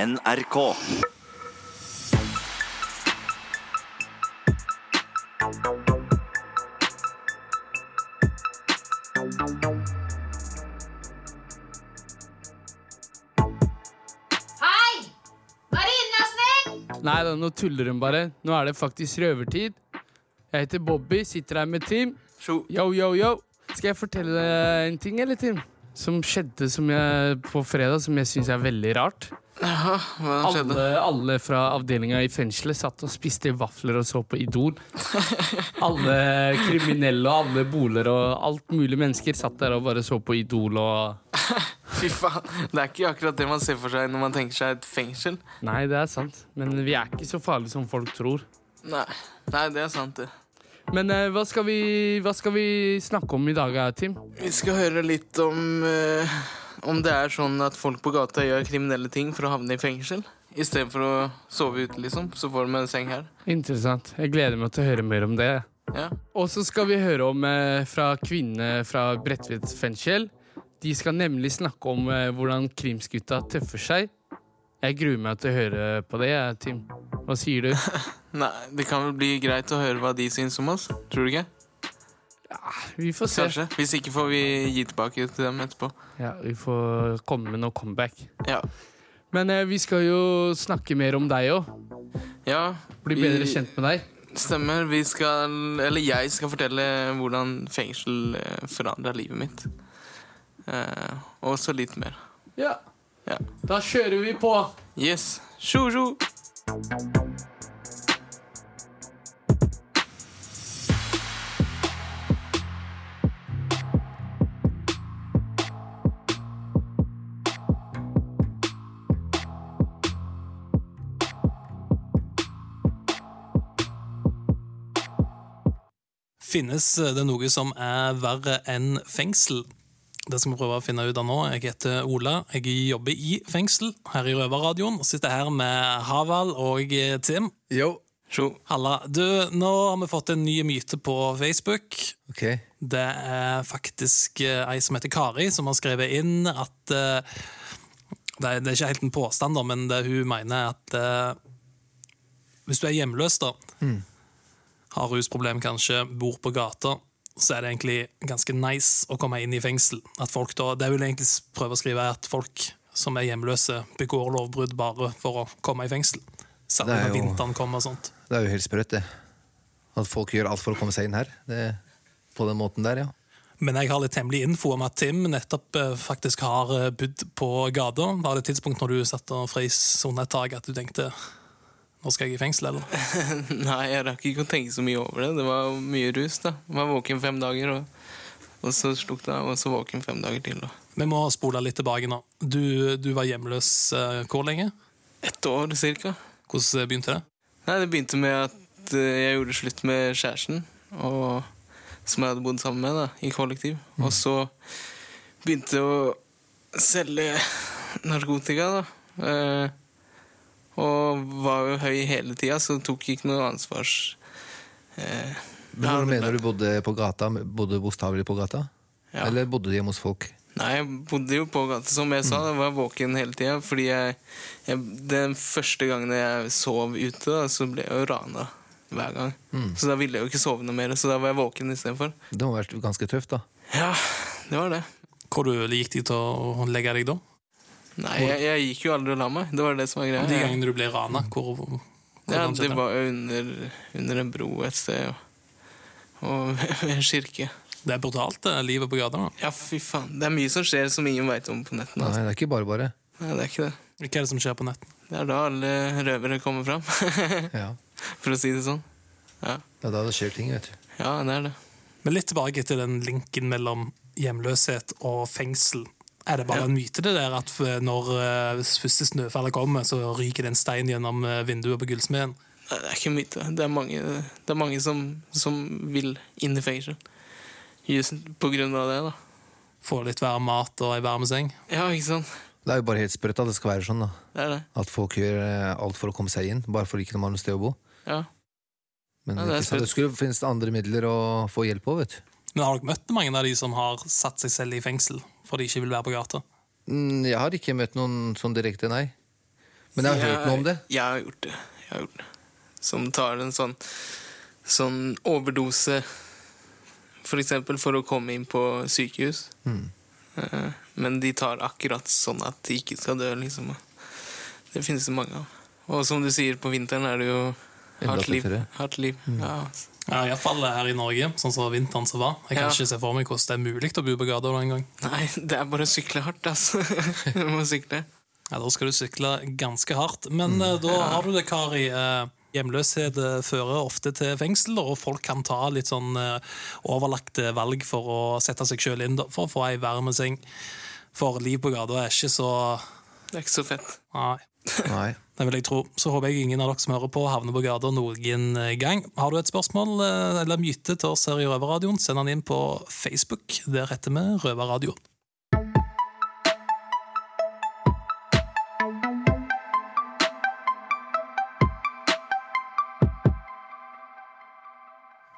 NRK. Hei! Nå er det innlastning! Nei da, nå tuller hun bare. Nå er det faktisk røvertid. Jeg heter Bobby, sitter her med Tim. Yo, yo, yo. Skal jeg fortelle deg en ting, eller, Tim? Som skjedde som jeg, på fredag, som jeg syns er veldig rart. Hva skjedde? Alle, alle fra avdelinga i fengselet satt og spiste vafler og så på Idol. Alle kriminelle og alle boler og alt mulig mennesker satt der og bare så på Idol og Fy faen, Det er ikke akkurat det man ser for seg når man tenker seg et fengsel. Nei, det er sant, men vi er ikke så farlige som folk tror. Nei, Nei det er sant, det. Men eh, hva, skal vi, hva skal vi snakke om i dag, eh, Tim? Vi skal høre litt om eh, om det er sånn at folk på gata gjør kriminelle ting for å havne i fengsel. I stedet for å sove ute, liksom. Så får de en seng her. Interessant. Jeg gleder meg til å høre mer om det. Ja. Og så skal vi høre om eh, fra kvinnene fra Bredtvet fengsel. De skal nemlig snakke om eh, hvordan krimsgutta tøffer seg. Jeg gruer meg til å høre på det, jeg, Tim. Hva sier du? Nei, Det kan vel bli greit å høre hva de syns om oss. Tror du ikke? Vi får se. Kanskje. Hvis ikke får vi gi tilbake til dem etterpå. Ja, vi får komme med noe comeback. Ja. Men eh, vi skal jo snakke mer om deg òg. ja Bli vi- bedre kjent med deg. Stemmer. Vi skal Eller jeg skal fortelle hvordan fengsel eh, forandra livet mitt. Eh, og så litt mer. Ja. Ja. Da kjører vi på. Yes. Tjo, tjo. Finnes eh, det noe som er verre enn fengsel? Det skal vi prøve å finne ut av nå. Jeg heter Ola. Jeg jobber i fengsel her i Røverradioen. og Sitter her med Haval og Tim. Yo. tjo. Halla. Du, nå har vi fått en ny myte på Facebook. Ok. Det er faktisk eh, ei som heter Kari, som har skrevet inn at eh, det, er, det er ikke helt en påstand, da, men det hun mener er at eh, hvis du er hjemløs, da, Mm. har rusproblem kanskje, bor på gata, så er det egentlig ganske nice å komme inn i fengsel. At folk da, det vil egentlig s- prøve å skrive er at folk som er hjemløse, begår lovbrudd bare for å komme i fengsel. Særlig Det er når jo- vinteren kommer og sånt. Det er jo helt sprøtt, det. At folk gjør alt for å komme seg inn her. Det, på den måten der, ja. Men jeg har litt hemmelig info om at Tim nettopp eh, faktisk har eh, bodd på gata. Var det et tidspunkt når du satt og frøs under et tak at du tenkte nå skal jeg i fengsel, eller? Nei, jeg rakk ikke å tenke så mye over det. Det var mye rus, da. Jeg var våken fem dager, og, og så slukte jeg, og så våken fem dager til. Og. Vi må spole litt tilbake nå. Du, du var hjemløs eh, hvor lenge? Ett år, cirka. Hvordan eh, begynte det? Nei, det begynte med at eh, jeg gjorde slutt med kjæresten, og, som jeg hadde bodd sammen med, da, i kollektiv. Mm. Og så begynte jeg å selge narkotika, da. Eh, og var jo høy hele tida, så tok ikke noe ansvars... Eh, Men Ja, Hvor det- mener du bodde på gata? Bodde bokstavelig på gata? Ja. Eller bodde du hjemme hos folk? Nei, jeg bodde jo på gata, som jeg sa. Mm. Jeg var våken hele tida. Fordi jeg, jeg, den første gangen jeg sov ute, da, så ble jeg jo rana hver gang. Mm. Så da ville jeg jo ikke sove noe mer, så da var jeg våken istedenfor. Det må ha vært ganske tøft, da. Ja, det var det. Hvor du gikk de til å legge deg da? Nei, jeg, jeg gikk jo aldri og la meg. Det var det som var greia. De gangene du ble rana? Hvor, hvor, ja, hvordan det skjedde det? var jo under, under en bro et sted, og, og ved en kirke. Det er brutalt, det, livet på gata. da. Ja, fy faen. Det er mye som skjer som ingen veit om på nettene. Nei, Altså. det er ikke bare bare. Nei, det er ikke det. Hva er det som skjer på nett? Det er da alle røvere kommer fram, Ja. for å si det sånn. Ja, Det er da det skjer ting, vet du. ja det er det. Men litt tilbake til den linken mellom hjemløshet og fengsel. Er det bare en myte det der at f- når eh, første snøfallet kommer, så ryker det en stein gjennom eh, vinduet på gullsmeden? Nei, det er ikke myte. Det er mange, det er mange som, som vil inn i fengsel. Just på grunn av det, da. Få litt varm mat og ei varm seng? Ja, ikke sant? Det er jo bare helt sprøtt at det skal være sånn, da. Det er det. At folk gjør eh, alt for å komme seg inn, bare fordi ikke de har noe sted å bo. Ja. Men Ja, det, det er ikke sant? det skulle finnes det andre midler å få hjelp på, vet du. Men har dere møtt mange av de som har satt seg selv i fengsel for de ikke vil være på gata? Mm, Jeg har ikke møtt noen sånn direkte, nei. Men jeg har hørt noe om det. Jeg har gjort det. Jeg har gjort det. Som tar en sånn, sånn overdose, for eksempel, for å komme inn på sykehus. Mm. Eh, Men de tar akkurat sånn at de ikke skal dø, liksom. Det finnes det mange av. Og som du sier, på vinteren er det jo Enda hardt liv. tøffere. Mm. Hardt liv. Ja, altså. Ja, Iallfall her i Norge, sånn som vinteren som var. Jeg kan Ja. ikke se for meg hvordan det er mulig å bo på gata da engang. Nei, det er bare å sykle hardt, altså. Du må sykle. Ja, da skal du sykle ganske hardt. Men eh, da har du det, Kari. Eh, Hjemløshet eh, fører ofte til fengsel, og folk kan ta litt sånn eh, overlagte valg for å sette seg sjøl inn, da, for å få ei varm seng. For liv på gata er ikke så Det er ikke så fett. Nei. Nei. Det vil jeg tro. Så håper jeg ingen av dere som hører på, havner på gata noen eh, gang. Har du et spørsmål eh, eller myte til oss her i Røverradioen, send den inn på Facebook. Der heter vi Røverradioen.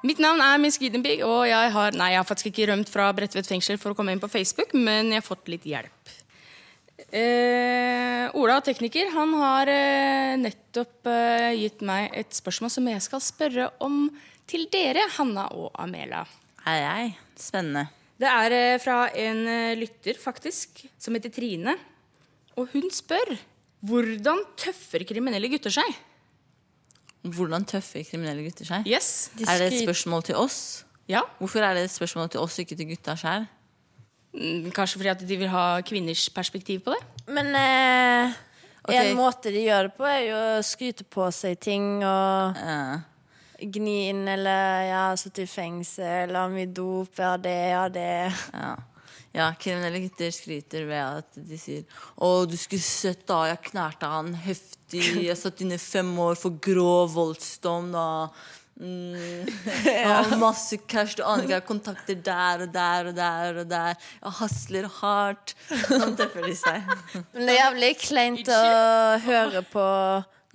Mitt navn er Miss Gidenbig, og jeg har, nei, jeg har faktisk ikke rømt fra Bredtvet fengsel for å komme inn på Facebook, men jeg har fått litt hjelp. Eh, Ola, tekniker, han har eh, nettopp eh, gitt meg et spørsmål som jeg skal spørre om til dere, Hanna og Amela. Hei, hei. Spennende. Det er eh, fra en eh, lytter, faktisk, som heter Trine. Og hun spør hvordan tøffer kriminelle gutter seg? Hvordan tøffe kriminelle gutter seg? Yes. de Er det et skryter- spørsmål til oss? Ja. Hvorfor er det et spørsmål til oss, ikke til gutta sjæl? Mm, Kanskje fordi at de vil ha kvinners perspektiv på det? Men eh, Ok. en måte de gjør det på, er jo å skryte på seg ting og gni inn eller ja, sitte i fengsel, ha mye dop, ja det, ja det. Ja. ja, kriminelle gutter skryter ved at de sier 'Å, du skulle sett, da. Jeg knærte han heftig. Jeg satt inne fem år for grov voldsdom, da. Mm. Jeg har masse cash. Du aner ikke. Jeg har kontakter der og der og der. og der Jeg hasler hardt. Sånn tøffer de seg. Men det er jævlig kleint å høre på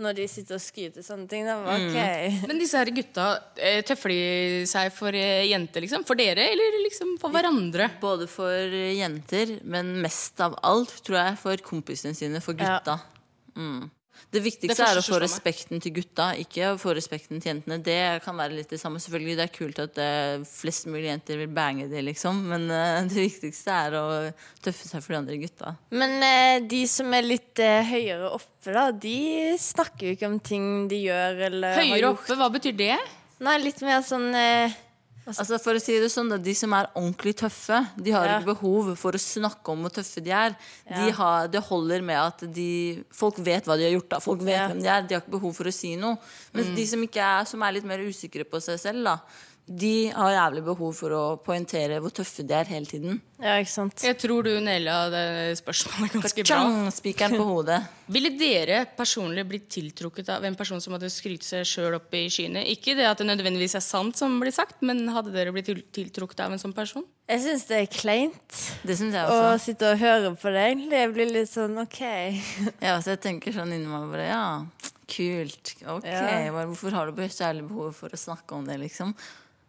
når de sitter og skryter sånne ting. Da. Mm. Men ok. Men disse her gutta, eh, tøffer de seg for eh, jenter, liksom? For dere, eller liksom for hverandre? Både for jenter, men mest av alt tror jeg for kompisene sine, for gutta. Mm. Det viktigste Det første er å få som slår meg. respekten til gutta, ikke å få respekten til jentene. Det kan være litt det samme. Selvfølgelig det er kult at eh, flest mulig jenter vil bange det, liksom, men eh, det viktigste er å tøffe seg for de andre gutta. Men eh, de som er litt eh, høyere oppe, da, de snakker jo ikke om ting de gjør Eh, eller har Høyere gjort. oppe, hva betyr det? Nei, litt mer sånn eh, Altså for å si det sånn da, De som er ordentlig tøffe, de har Ja. ikke behov for å snakke om hvor tøffe de er. De Ja. har, det holder med at de, folk vet hva de har gjort. da Folk vet Ja. Mm. hvem De er, de har ikke behov for å si noe. Mens de som, ikke er, som er litt mer usikre på seg selv, da de har jævlig behov for å poengtere hvor tøffe de er hele tiden. Ja, ikke sant. Jeg tror du naila det spørsmålet ganske bra. Tjang! Spikeren på hodet. Ville dere personlig blitt tiltrukket av en person som hadde skrytt seg sjøl opp i skyene? Ikke det at det nødvendigvis er sant, som blir sagt, men hadde dere blitt til- tiltrukket av en sånn person? Jeg syns det er kleint Det syns jeg å også. sitte og høre på det, egentlig. Jeg blir litt sånn OK. Ja, så jeg tenker sånn inni meg bare Ja, kult. Ok, Ja. bare Hvorfor har du bare særlig behov for å snakke om det, liksom?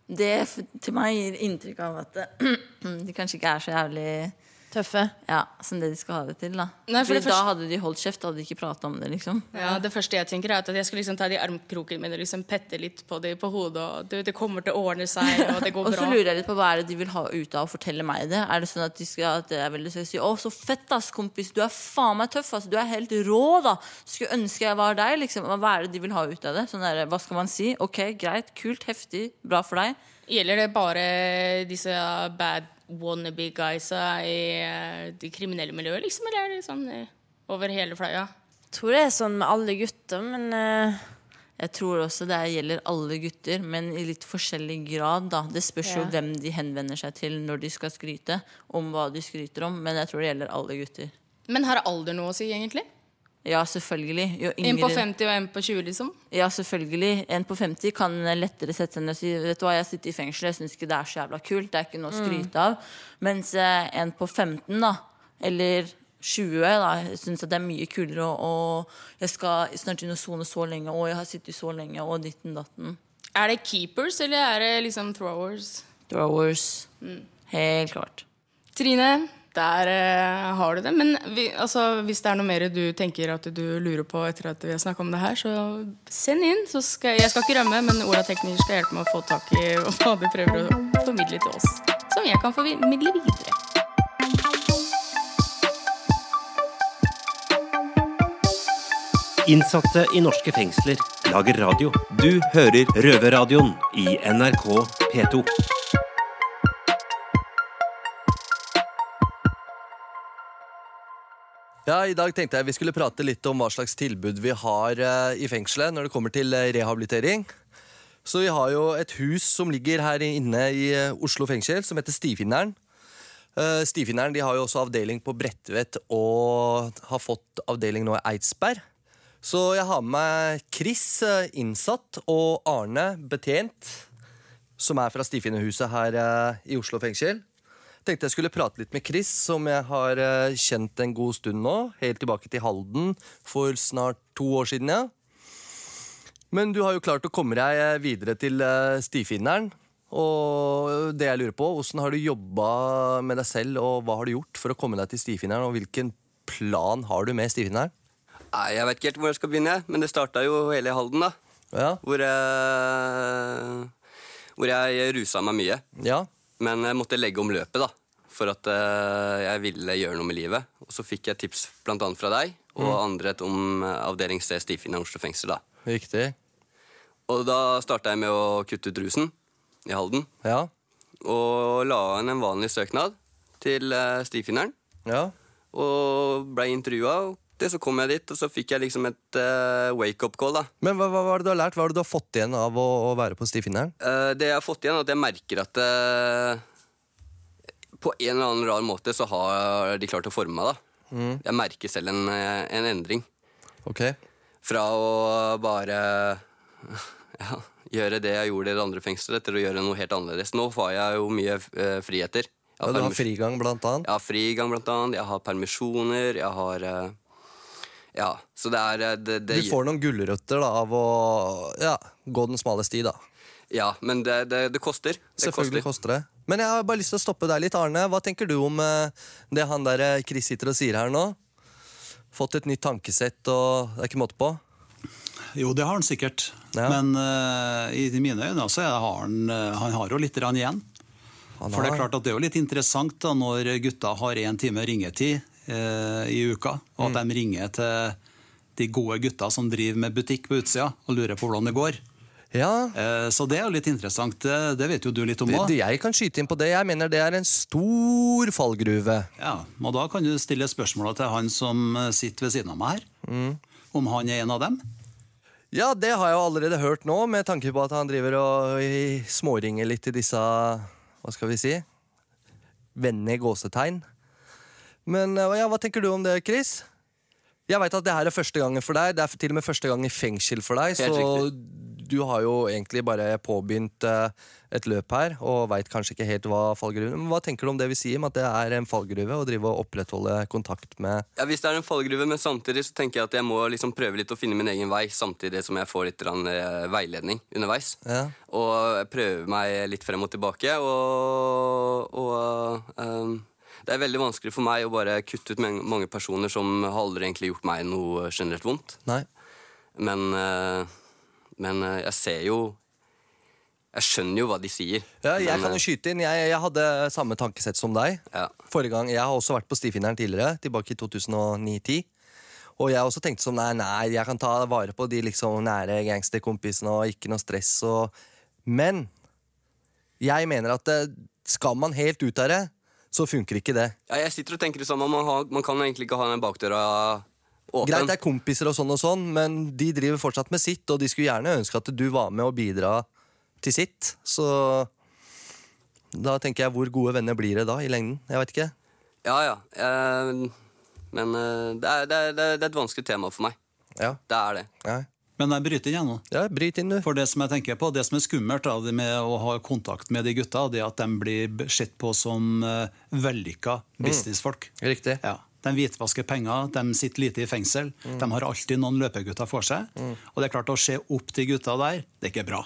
Det f- til meg gir inntrykk av at eh, de kanskje ikke er så jævlig Tøffe. ja, som det de skal ha det til. da Nei, for Fordi det Da første- hadde de holdt kjeft, da hadde de ikke prata om det. liksom Ja, Det første jeg tenker, er at jeg skal liksom ta de armkrokene mine og liksom pette litt på dem på hodet, og du, det kommer til å ordne seg, og det går Og så bra. lurer jeg litt på Hva er det de vil ha ut av å fortelle meg det? Er det sånn at de skal, at jeg vil skal si 'Å, så fett, ass, kompis. Du er faen meg tøff. ass, Du er helt rå, da. Skulle ønske jeg var deg.' liksom Hva er det de vil ha ut av det? Sånn der, Hva skal man si? Ok, greit, kult, heftig, bra for deg. Gjelder det bare disse bad wannabe guysa i eh, de kriminelle miljøer, liksom? Eller er det sånn eh, over hele fløya? Tror det er sånn med alle gutter, men eh, Jeg tror også det gjelder alle gutter, men i litt forskjellig grad. da. Det spørs jo Ja. hvem de henvender seg til når de skal skryte, om hva de skryter om. Men jeg tror det gjelder alle gutter. Men har alder noe å si, egentlig? Ja, selvfølgelig. Jo En på yngre 50 og en på 20, liksom? Ja, selvfølgelig. En på 50 kan lettere sette seg ned og si Vet du hva, jeg sitter i fengsel, jeg syns ikke det er så jævla kult. Det er ikke noe å skryte av. Mens eh, en på 15, da, eller 20, da, syns at det er mye kulere å å- Jeg skal snart inn og sone så lenge, og jeg har sittet så lenge, og ditten datten. Er det keepers, eller er det liksom throwers? Throwers. Helt klart. Trine, Der eh, har du det. Men vi, altså, hvis det er noe mer du tenker at du lurer på etter at vi har snakket om det her, så send inn. Så skal, jeg skal ikke rømme, men Ola tekniker skal hjelpe meg å få tak i hva du prøver å formidle til oss. Som jeg kan formidle videre. Innsatte i norske fengsler lager radio. Du hører Røverradioen i NRK P2. Ja, I dag tenkte jeg vi skulle prate litt om hva slags tilbud vi har eh, i fengselet når det kommer til eh, rehabilitering. Så vi har jo et hus som ligger her inne i eh, Oslo fengsel, som heter Stifinneren. Eh, Stifinneren de har jo også avdeling på Bredtvet og har fått avdeling nå i Eidsberg. Så jeg har med meg Chris, eh, innsatt, og Arne, betjent, som er fra Stifinnerhuset her eh, i Oslo fengsel. Tenkte jeg skulle prate litt med Chris, som jeg har eh, kjent en god stund nå. Helt tilbake til Halden for snart to år siden, ja. Men du har jo klart å komme deg eh, videre til eh, stifinneren. Og det jeg lurer på, åssen har du jobba med deg selv, og hva har du gjort for å komme deg til stifinneren, og hvilken plan har du med stifinneren? Nei, Jeg vet ikke helt hvor jeg skal begynne, men det starta jo hele i Halden, da. Hvor, eh, jeg, hvor jeg rusa meg mye. Men jeg måtte legge om løpet, da. For at eh, jeg ville gjøre noe med livet. Og så fikk jeg tips blant annet fra deg og Mm. andre om eh, avdeling C Stifinner Oslo fengsel. da. Riktig. Og da starta jeg med å kutte ut rusen i Halden. Ja. Og la inn en vanlig søknad til eh, stifinneren. Ja. Og blei intervjua. og Det, så kom jeg dit, og så fikk jeg liksom et eh, wake-up call. da. Men hva, hva, hva er det du har lært? Hva er det du har fått igjen av å, å være på stifinneren? Eh, det jeg har fått igjen, er at jeg merker at eh, på en eller annen rar måte så har de klart å forme meg. da. Mm. Jeg merker selv en, eh, en endring. Ok. Fra å bare ja, gjøre det jeg gjorde i det andre fengselet, til å gjøre noe helt annerledes. Nå får jeg jo mye eh, friheter. Jeg Ja, du har permisjon- frigang, blant annet. Jeg har frigang, blant annet. Jeg har permisjoner. Jeg har eh, Ja, så det er eh, det, det, Du får noen gulrøtter da, av å ja, gå den smale sti, da. Ja, men det, det, det koster. Det Selvfølgelig koster det. Men jeg har bare lyst til å stoppe deg litt, Arne. Hva tenker du om eh, det han der eh, Chris sitter og sier her nå? Fått et nytt tankesett, og det er ikke måte på. Jo, det har han sikkert. Ja. Men eh, i mine øyne så er- har han, eh, han har jo litt grann igjen. For det er har. klart at det er jo litt interessant da, når gutta har én time ringetid eh, i uka, og at de ringer til de gode gutta som driver med butikk på utsida, og lurer på hvordan det går. Eh, så det er jo litt interessant. Det, det vet jo du litt om Det, òg. det jeg kan skyte inn på det. Jeg mener det er en stor fallgruve. Ja, og da kan du stille spørsmåla til han som eh, sitter ved siden av meg her, Mm. om han er en av dem. Ja, det har jeg jo allerede hørt nå, med tanke på at han driver og i- småringer litt til disse Hva skal vi si? Vennene i gåsetegn. Men eh, ja, hva tenker du om det, Chris? Jeg veit at det her er første gangen for deg. Det er til og med første gang i fengsel for deg, Helt så du har jo egentlig bare påbegynt eh, et løp her og veit kanskje ikke helt hva fallgruven Men hva tenker du om det vi sier om at det er en fallgruve å drive og opprettholde kontakt med Ja, Hvis det er en fallgruve, men samtidig så tenker jeg at jeg må liksom prøve litt å finne min egen vei, samtidig som jeg får litt grann, eh, veiledning underveis. Ja. Og jeg prøver meg litt frem og tilbake. Og, og eh, det er veldig vanskelig for meg å bare kutte ut men- mange personer som har aldri egentlig gjort meg noe generelt vondt. Nei. Men, eh, men eh, jeg ser jo Jeg skjønner jo hva de sier. Ja, jeg men, kan eh, jo skyte inn. Jeg, jeg hadde samme tankesett som deg. Forrige gang, Jeg har også vært på Stifinneren tidligere, tilbake i 2009-10. Og jeg også tenkte som nei, nei, jeg kan ta vare på de liksom nære gangsterkompisene og ikke noe stress. Og... Men jeg mener at eh, skal man helt ut av det, så funker ikke det. ja, jeg sitter og tenker det samme. Man, har, man kan egentlig ikke ha den bakdøra åpen. Greit, det er kompiser og sånn og sånn, men de driver fortsatt med sitt, og de skulle gjerne ønske at du var med og bidra til sitt. Så da tenker jeg, hvor gode venner blir det da i lengden? Jeg vet ikke. Ja, ja. Eh, men eh, det, er, det, er, det er- det er et vanskelig tema for meg. Ja. Det er det. Men jeg bryter inn, jeg nå. Ja, bryt inn, du. For det som jeg tenker på, det som er skummelt da, det med å ha kontakt med de gutta, det er at de blir b- sett på som uh, vellykka businessfolk. Riktig. Ja. De hvitvasker penger, de sitter lite i fengsel. De har alltid noen løpegutter for seg. Og det er klart, å se opp til gutta der, det er ikke bra.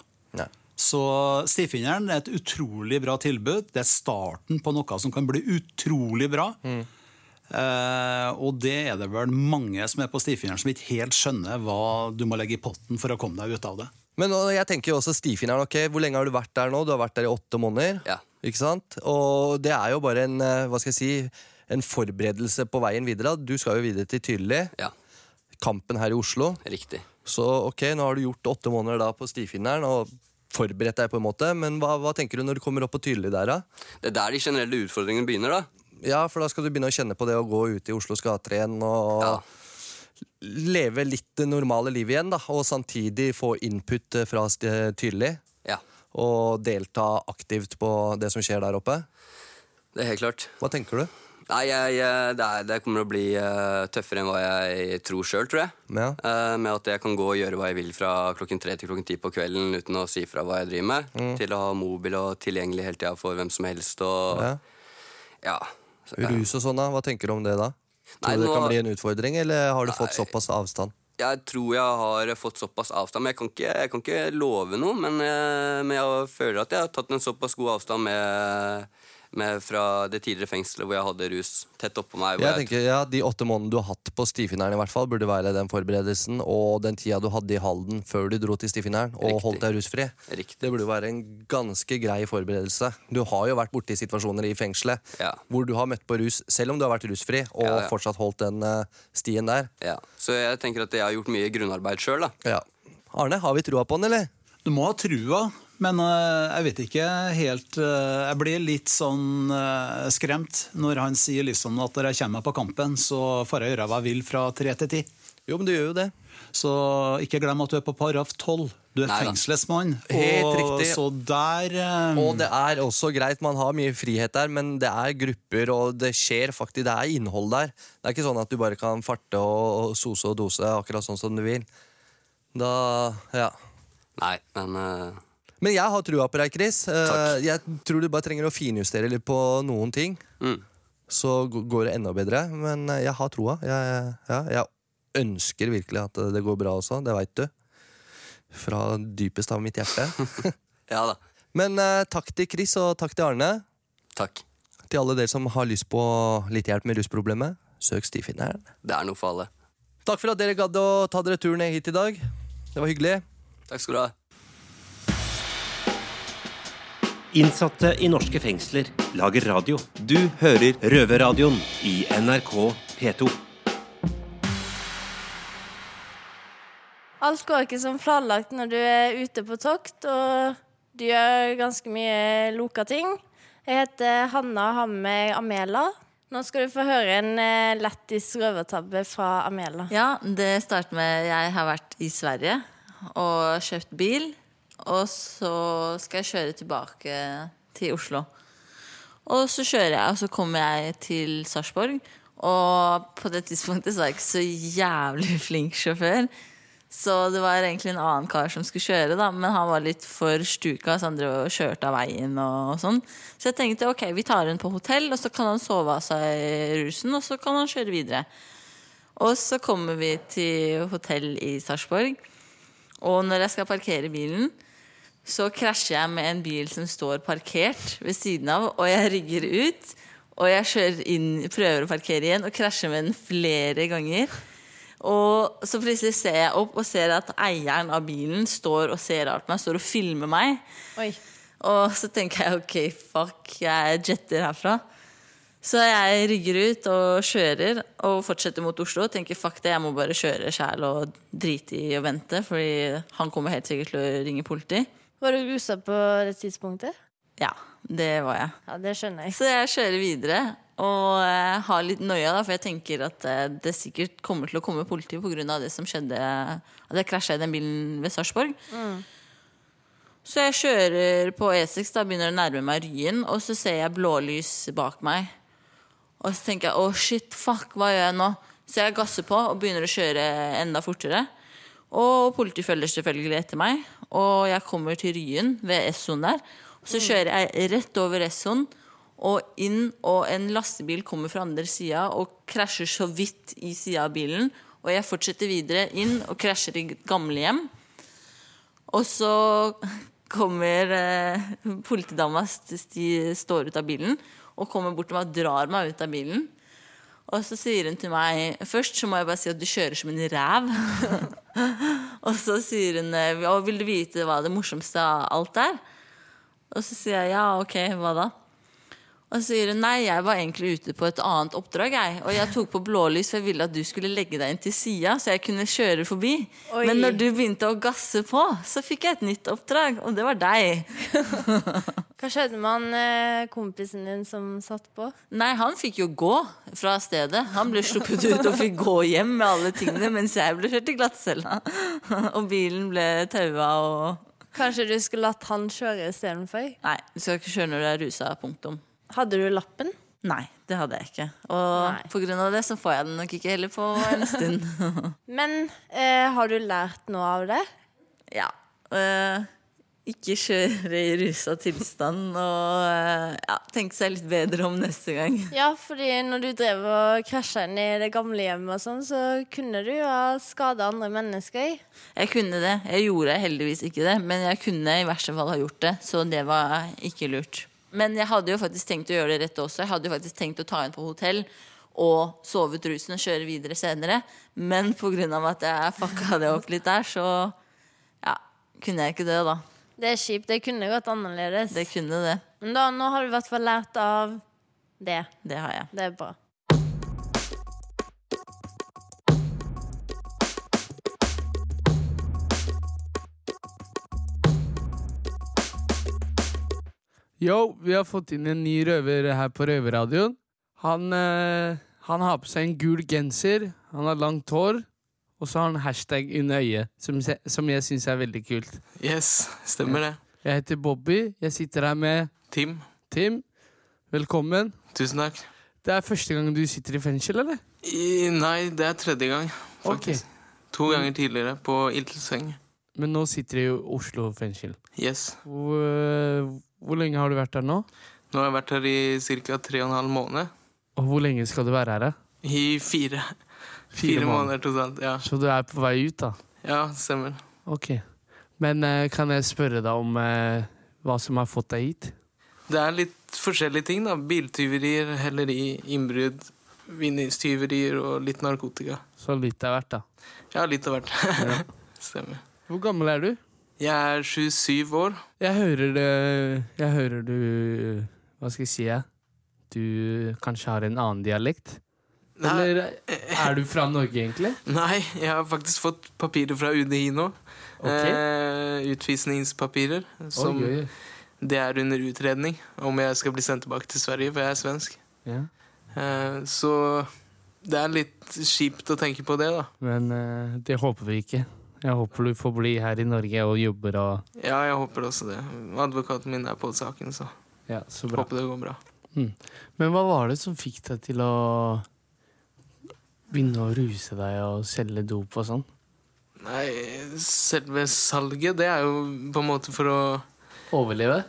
Så Stifinneren er et utrolig bra tilbud. Det er starten på noe som kan bli utrolig bra. Eh, og det er det vel mange som er på stifinneren som ikke helt skjønner hva du må legge i potten for å komme deg ut av det. Men og jeg tenker jo også stifinneren, ok, hvor lenge har du vært der nå? Du har vært der i åtte måneder. Ikke sant? Og det er jo bare en, eh, hva skal jeg si, en forberedelse på veien videre. da. Du skal jo videre til Tyrli. Kampen her i Oslo. Riktig. Så ok, nå har du gjort åtte måneder da på stifinneren og forberedt deg på en måte. Men hva, hva tenker du når du kommer opp på Tyrli der da? Det er der de generelle utfordringene begynner, da. Ja, for da skal du begynne å kjenne på det å gå ut i Oslos gater igjen og leve litt det normale livet igjen, da. Og samtidig få input fra st- eh, Tyrli. Og delta aktivt på det som skjer der oppe. Det er helt klart. Hva tenker du? Nei, jeg, jeg- det, er, det kommer å bli eh, tøffere enn hva jeg tror sjøl, tror jeg. Ja. Eh, med at jeg kan gå og gjøre hva jeg vil fra klokken tre til klokken ti på kvelden uten å si fra hva jeg driver med. Mm. Til å ha mobil og tilgjengelig hele tida for hvem som helst og Ja. Ja. Rus og sånn, da. Hva tenker du om det da? Tror Nei, du det nå- kan bli en utfordring, eller har du fått såpass avstand? Jeg tror jeg har fått såpass avstand. Men jeg kan ikke, jeg kan ikke love noe. Men, eh, men jeg føler at jeg har tatt en såpass god avstand med, med fra det tidligere fengselet hvor jeg hadde rus tett oppå meg. hvor Jeg tenker, ja, De åtte månedene du har hatt på stifinneren, i hvert fall, burde være den forberedelsen, og den tida du hadde i Halden før du dro til stifinneren og Riktig. holdt deg rusfri. Det burde være en ganske grei forberedelse. Du har jo vært borti situasjoner i fengselet hvor du har møtt på rus selv om du har vært rusfri, og Ja, ja. fortsatt holdt den eh, stien der. Ja, Så jeg tenker at jeg har gjort mye grunnarbeid sjøl, da. Ja. Arne, har vi trua på den, eller? Du må ha trua, men eh, jeg vet ikke helt eh, Jeg blir litt sånn eh, skremt når han sier liksom at når jeg kommer meg på kampen, så får jeg gjøre hva jeg vil fra tre til ti. Jo, men du gjør jo det. Så ikke glem at du er på paragraf tolv. Du er Nei da. fengslesmann. Helt og riktig. Så der eh, Og det er også greit, man har mye frihet der, men det er grupper, og det skjer faktisk, det er innhold der. Det er ikke sånn at du bare kan farte og og sose og dose akkurat sånn som du vil. Da, ja. Nei, men eh, Men jeg har trua på deg, Chris. Eh, Jeg tror du bare trenger å finjustere litt på noen ting. Så g- går det enda bedre. Men eh, jeg har troa. Jeg, ja, jeg ønsker virkelig at det går bra også. Det veit du. Fra dypest av mitt hjerte. ja da. Men eh, takk til Chris, og takk til Arne. Takk. Til alle dere som har lyst på litt hjelp med rusproblemet, søk stifinneren. det er noe for alle. Takk for at dere gadd å ta dere turen ned hit i dag. Det var hyggelig. Takk skal du ha. Innsatte i norske fengsler lager radio. Du hører Røverradioen i NRK P2. Alt går ikke som planlagt når du er ute på tokt, og du gjør ganske mye loka ting. Jeg heter Hanna og har med meg Amela. Nå skal du få høre en eh, lættis røvertabbe fra Amela. Ja, det starter med Jeg har vært i Sverige og kjøpt bil. Og så skal jeg kjøre tilbake til Oslo. Og så kjører jeg, og så kommer jeg til Sarpsborg. Og på det tidspunktet så var jeg ikke så jævlig flink sjåfør. Så det var egentlig en annen kar som skulle kjøre, da, men han var litt for stuka, så han drev og kjørte av veien og sånn. Så jeg tenkte ok, vi tar henne på hotell, og så kan han sove av seg rusen, og så kan han kjøre videre. Og så kommer vi til hotell i Sarpsborg. Og når jeg skal parkere bilen, så krasjer jeg med en bil som står parkert ved siden av, og jeg rygger ut. Og jeg kjører inn, prøver å parkere igjen og krasjer med den flere ganger. Og så plutselig ser jeg opp og ser at eieren av bilen står og ser rart på meg, står og filmer meg. Og så tenker jeg ok, fuck, jeg jetter herfra. Så jeg rygger ut og kjører og fortsetter mot Oslo. Og tenker fuck det, jeg må bare kjøre sjæl og drite i å vente, fordi han kommer helt sikkert til å ringe politi. Var du rusa på det tidspunktet? Ja, det var jeg. Ja, det skjønner jeg. Så jeg kjører videre og eh, har litt nøya, da, for jeg tenker at eh, det sikkert kommer til å komme politi pga. det som skjedde, at jeg krasja i den bilen ved Sarpsborg. Mm. Så jeg kjører på E6, da begynner det å nærme meg Ryen, og så ser jeg blålys bak meg. Og så tenker jeg å shit, fuck, hva gjør jeg nå? Så jeg gasser på og begynner å kjøre enda fortere. Og politiet følger selvfølgelig etter meg, og jeg kommer til Ryen ved Essoen der. Og så kjører jeg rett over Essoen og inn, og en lastebil kommer fra andre sida og krasjer så vidt i sida av bilen. Og jeg fortsetter videre inn og krasjer i gamlehjem. Og så kommer eh, politidama st sti- står ut av bilen og kommer bort til meg og drar meg ut av bilen. Og så sier hun til meg Først så må jeg bare si at du kjører som en ræv. og så sier hun eh, «Ja, Vil du vite hva det morsomste av alt er? Og så sier jeg ja, ok, hva da? Og så sier hun nei, jeg var egentlig ute på et annet oppdrag. Jeg. Og jeg tok på blålys, for jeg ville at du skulle legge deg inn til sida, så jeg kunne kjøre forbi. Oi. Men når du begynte å gasse på, så fikk jeg et nytt oppdrag, og det var deg. Hva skjedde med han eh, kompisen din som satt på? Nei, han fikk jo gå fra stedet. Han ble sluppet ut og fikk gå hjem med alle tingene, mens jeg ble kjørt i glattcella. Og bilen ble taua og Kanskje du skulle latt han kjøre istedenfor? Nei, du skal ikke kjøre når du er rusa. Punktum. Hadde du lappen? Nei, det hadde jeg ikke. Og på grunn av det så får jeg den nok ikke heller på en stund. Men eh, har du lært noe av det? ja. eh, ikke kjøre i rusa tilstand og eh, ja, tenke seg litt bedre om neste gang. Ja, fordi når du drev og krasja inn i det gamle hjemmet og sånn, så kunne du ha skada andre mennesker. Jeg kunne det. Jeg gjorde heldigvis ikke det, men jeg kunne i verste fall ha gjort det. Så det var ikke lurt. Men jeg hadde jo faktisk tenkt å gjøre det rett også. Jeg hadde jo faktisk tenkt å ta inn på hotell og sove ut rusen og kjøre videre senere. Men pga. at jeg fucka det opp litt der, så ja, kunne jeg ikke det, da. Det er kjipt. Det kunne gått annerledes. Det kunne det. Men da, nå har du i hvert fall lært av det. Det har jeg. Det er bra. Yo, vi har fått inn en ny røver her på Røverradioen. Han, eh, han har på seg en gul genser, han har langt hår, og så har han hashtag under øyet, som, se- som jeg syns er veldig kult. Yes, stemmer det. Jeg heter Bobby. Jeg sitter her med Tim. Tim, velkommen. Tusen takk. Det er første gang du sitter i fengsel, eller? I, nei, det er tredje gang, faktisk. To ganger tidligere, på Ildseng. Men nå sitter du i Oslo fengsel. Yes. Hvor, eh, hvor lenge har du vært der nå? Nå har jeg vært her i ca. tre og en halv måned. Og hvor lenge skal du være her? da? I fire. Fire, måneder totalt. Ja. Så du er på vei ut, da? ja, stemmer. Ok. Men eh, kan jeg spørre deg om eh, hva som har fått deg hit? Det er litt forskjellige ting, da. Biltyverier, helleri, innbrudd, vinningstyverier og litt narkotika. Så litt av hvert, da. Ja, litt av hvert. Stemmer. Hvor gammel er du? Jeg er 27 år. Jeg hører det Jeg hører du eh, Hva skal jeg si? jeg? Du kanskje har en annen dialekt? Eller eh, er du fra Norge, egentlig? Nei, jeg har faktisk fått papirer fra UDI nå. Ok. Eh, utvisningspapirer. Som Oi, oi, oi. Det er under utredning om jeg skal bli sendt tilbake til Sverige, for jeg er svensk. Ja. Eh, så det er litt kjipt å tenke på det, da. Men eh, det håper vi ikke. Jeg håper du får bli her i Norge og jobber og Ja, jeg håper også det. Advokaten min er på saken, så Ja, så bra. håper det går bra. Mm. Men hva var det som fikk deg til å begynne å ruse deg og selge dop og sånn? Nei, selve salget, det er jo på en måte for å Overleve?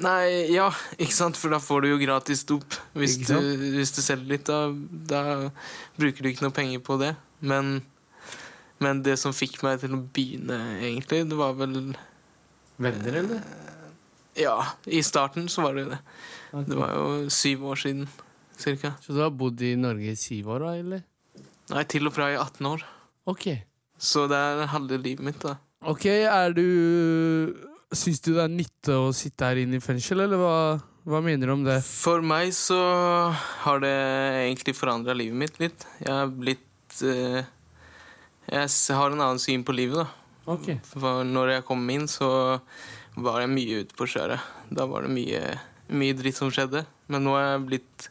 Nei, ja, ikke sant? For da får du jo gratis dop hvis, Ikke du, sant? hvis du selger litt. Da, da bruker du ikke noe penger på det. Men, men det som fikk meg til å begynne, egentlig, det var vel Venner, eller? Ja, i starten så var det jo det. Det var jo syv år siden, cirka. Så du har bodd i Norge i syv år, da, eller? Nei, til og fra i 18 år. Ok. Så det er halve livet mitt, da. Ok, er du Syns du det er nytte å sitte her inne i fengsel, eller hva, hva mener du om det? For meg så har det egentlig forandra livet mitt litt. Jeg har blitt eh, Jeg s- har en annen syn på livet, da. Ok. For når jeg kom inn, så var jeg mye ute på kjøret. Da var det mye, mye dritt som skjedde. Men nå er jeg blitt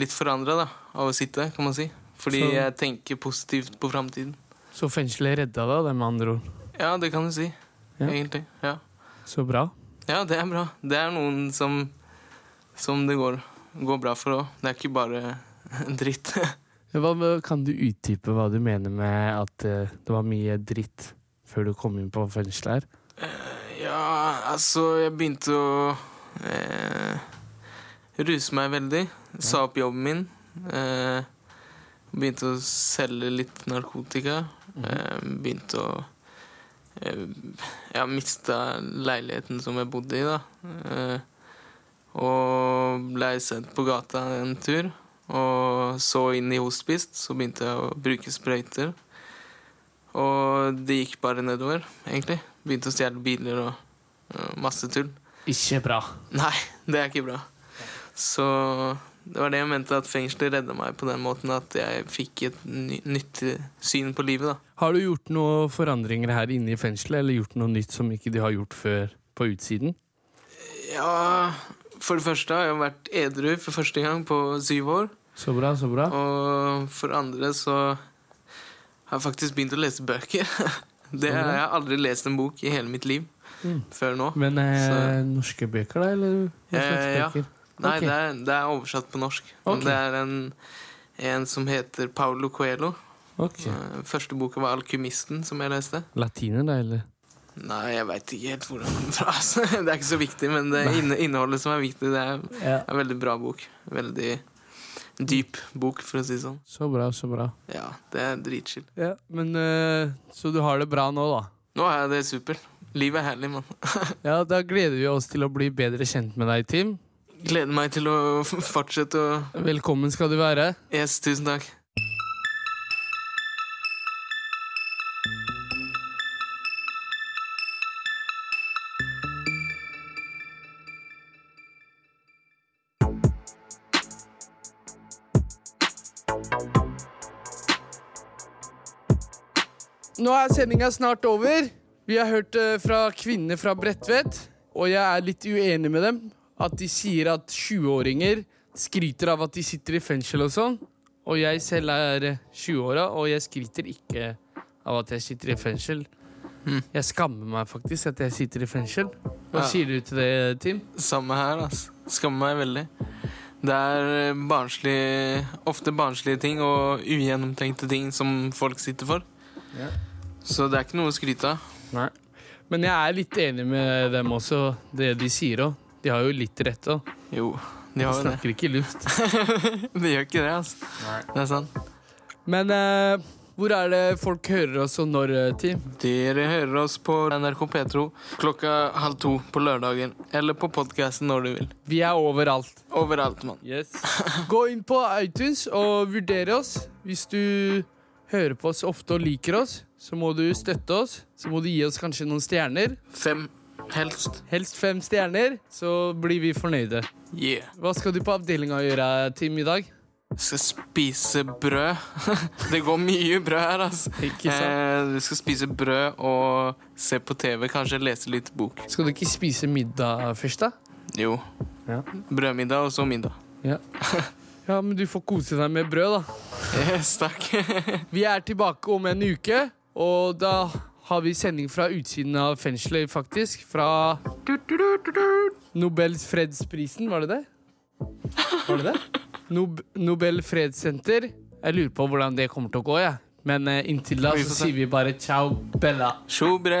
litt forandra av å sitte, kan man si. Fordi Så- jeg tenker positivt på framtiden. Så fengselet redda deg, det med andre ord. Ja, det kan du si. Ja. Egentlig. Ja. Så bra. Ja, det er bra. Det er noen som, som det går, går bra for òg. Det er ikke bare dritt. Hva, kan du utdype hva du mener med at eh, det var mye dritt før du kom inn på fengselet her? ja, altså, jeg begynte å eh, ruse meg veldig. Sa opp jobben min. Eh, begynte å selge litt narkotika. Eh, begynte å eh, Ja, mista leiligheten som jeg bodde i, da. Eh, Og ble sendt på gata en tur. Og så inn i hospice, så begynte jeg å bruke sprøyter. Og det gikk bare nedover, egentlig. Begynte å stjele biler og eh, masse tull. Ikke bra. Nei, det er ikke bra. Så det var det jeg mente, at fengselet redda meg på den måten at jeg fikk et ny nyttig syn på livet. da. Har du gjort noen forandringer her inne i fengselet, eller gjort noe nytt som ikke de har gjort før på utsiden? Ja, for det første har jeg vært edru for første gang på syv år. Så bra, så bra. Og for det andre så har jeg faktisk begynt å lese bøker. Det, Så bra. jeg har aldri lest en bok i hele mitt liv Mm. før nå. Men eh, Så- norske bøker, da? Eller hva slags Eh, ja. bøker? Nei, Ok. det, er, det er oversatt på norsk. Men Ok. det er en, en som heter Paulo Coelho. Ok. Eh, Første boka var 'Alkymisten', som jeg leste. Latiner, da, eller? Nei, jeg veit ikke helt hvordan den fra. altså. Det er ikke så viktig, men det inne, innholdet som er viktig, det er Ja. en veldig bra bok. Veldig dyp bok, for å si det sånn. Så bra, så bra. Ja, det er dritchill. Ja, men eh, Så du har det bra nå, da? Nå er det super. Livet er herlig, mann. Ja, da gleder vi oss til å bli bedre kjent med deg, Tim. Gleder meg til å fortsette å Velkommen skal du være. Yes, tusen takk. Nå er sendinga snart over. Vi har hørt eh, fra kvinner fra Bredtvet, og jeg er litt uenig med dem. At de sier at 20-åringer skryter av at de sitter i fengsel og sånn. Og jeg selv er eh, 20-åra, og jeg skryter ikke av at jeg sitter i fengsel. Jeg skammer meg faktisk at jeg sitter i fengsel. Hva Hm. Ja. sier du til det, Tim? Samme her, ass. Skammer meg veldig. Det er eh, barnslig, ofte barnslige ting og ugjennomtenkte ting som folk sitter for. Ja. Så det er ikke noe å skryte av. Nei. Men jeg er litt enig med dem også, det de sier òg. De har jo litt rett òg. Jo, de har jo det. snakker ikke luft. de gjør ikke det, altså. Det er sant. Men eh, hvor er det folk hører oss, og når, eh, Tim? Dere hører oss på NRK P2 klokka halv to på lørdagen. Eller på podkasten når du vil. Vi er overalt. Overalt, mann. Gå inn på iTunes og vurdere oss. Hvis du hører på oss ofte og liker oss, så må du støtte oss. Så må du gi oss kanskje noen stjerner. Fem, helst. Helst fem stjerner, så blir vi fornøyde. Yeah. Hva skal du på avdelinga gjøre, Tim, i dag? Skal spise brød. det går mye brød her, altså. Ikke sant? Eh, du skal spise brød og se på TV, kanskje lese litt bok. Skal du ikke spise middag først, da? Jo. Brødmiddag og så middag. Ja. ja, men du får kose deg med brød, da. Yes, takk. vi er tilbake om en uke, og da har vi sending fra utsiden av fengselet, faktisk. Fra Nobels fredsprisen, var det det? Var det det? Nob Nobel fredssenter. Jeg lurer på hvordan det kommer til å gå, jeg. Men eh, inntil da Vi får så se. sier vi bare ciao, Bella. Tjo bre.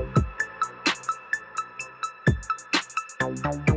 Thank you.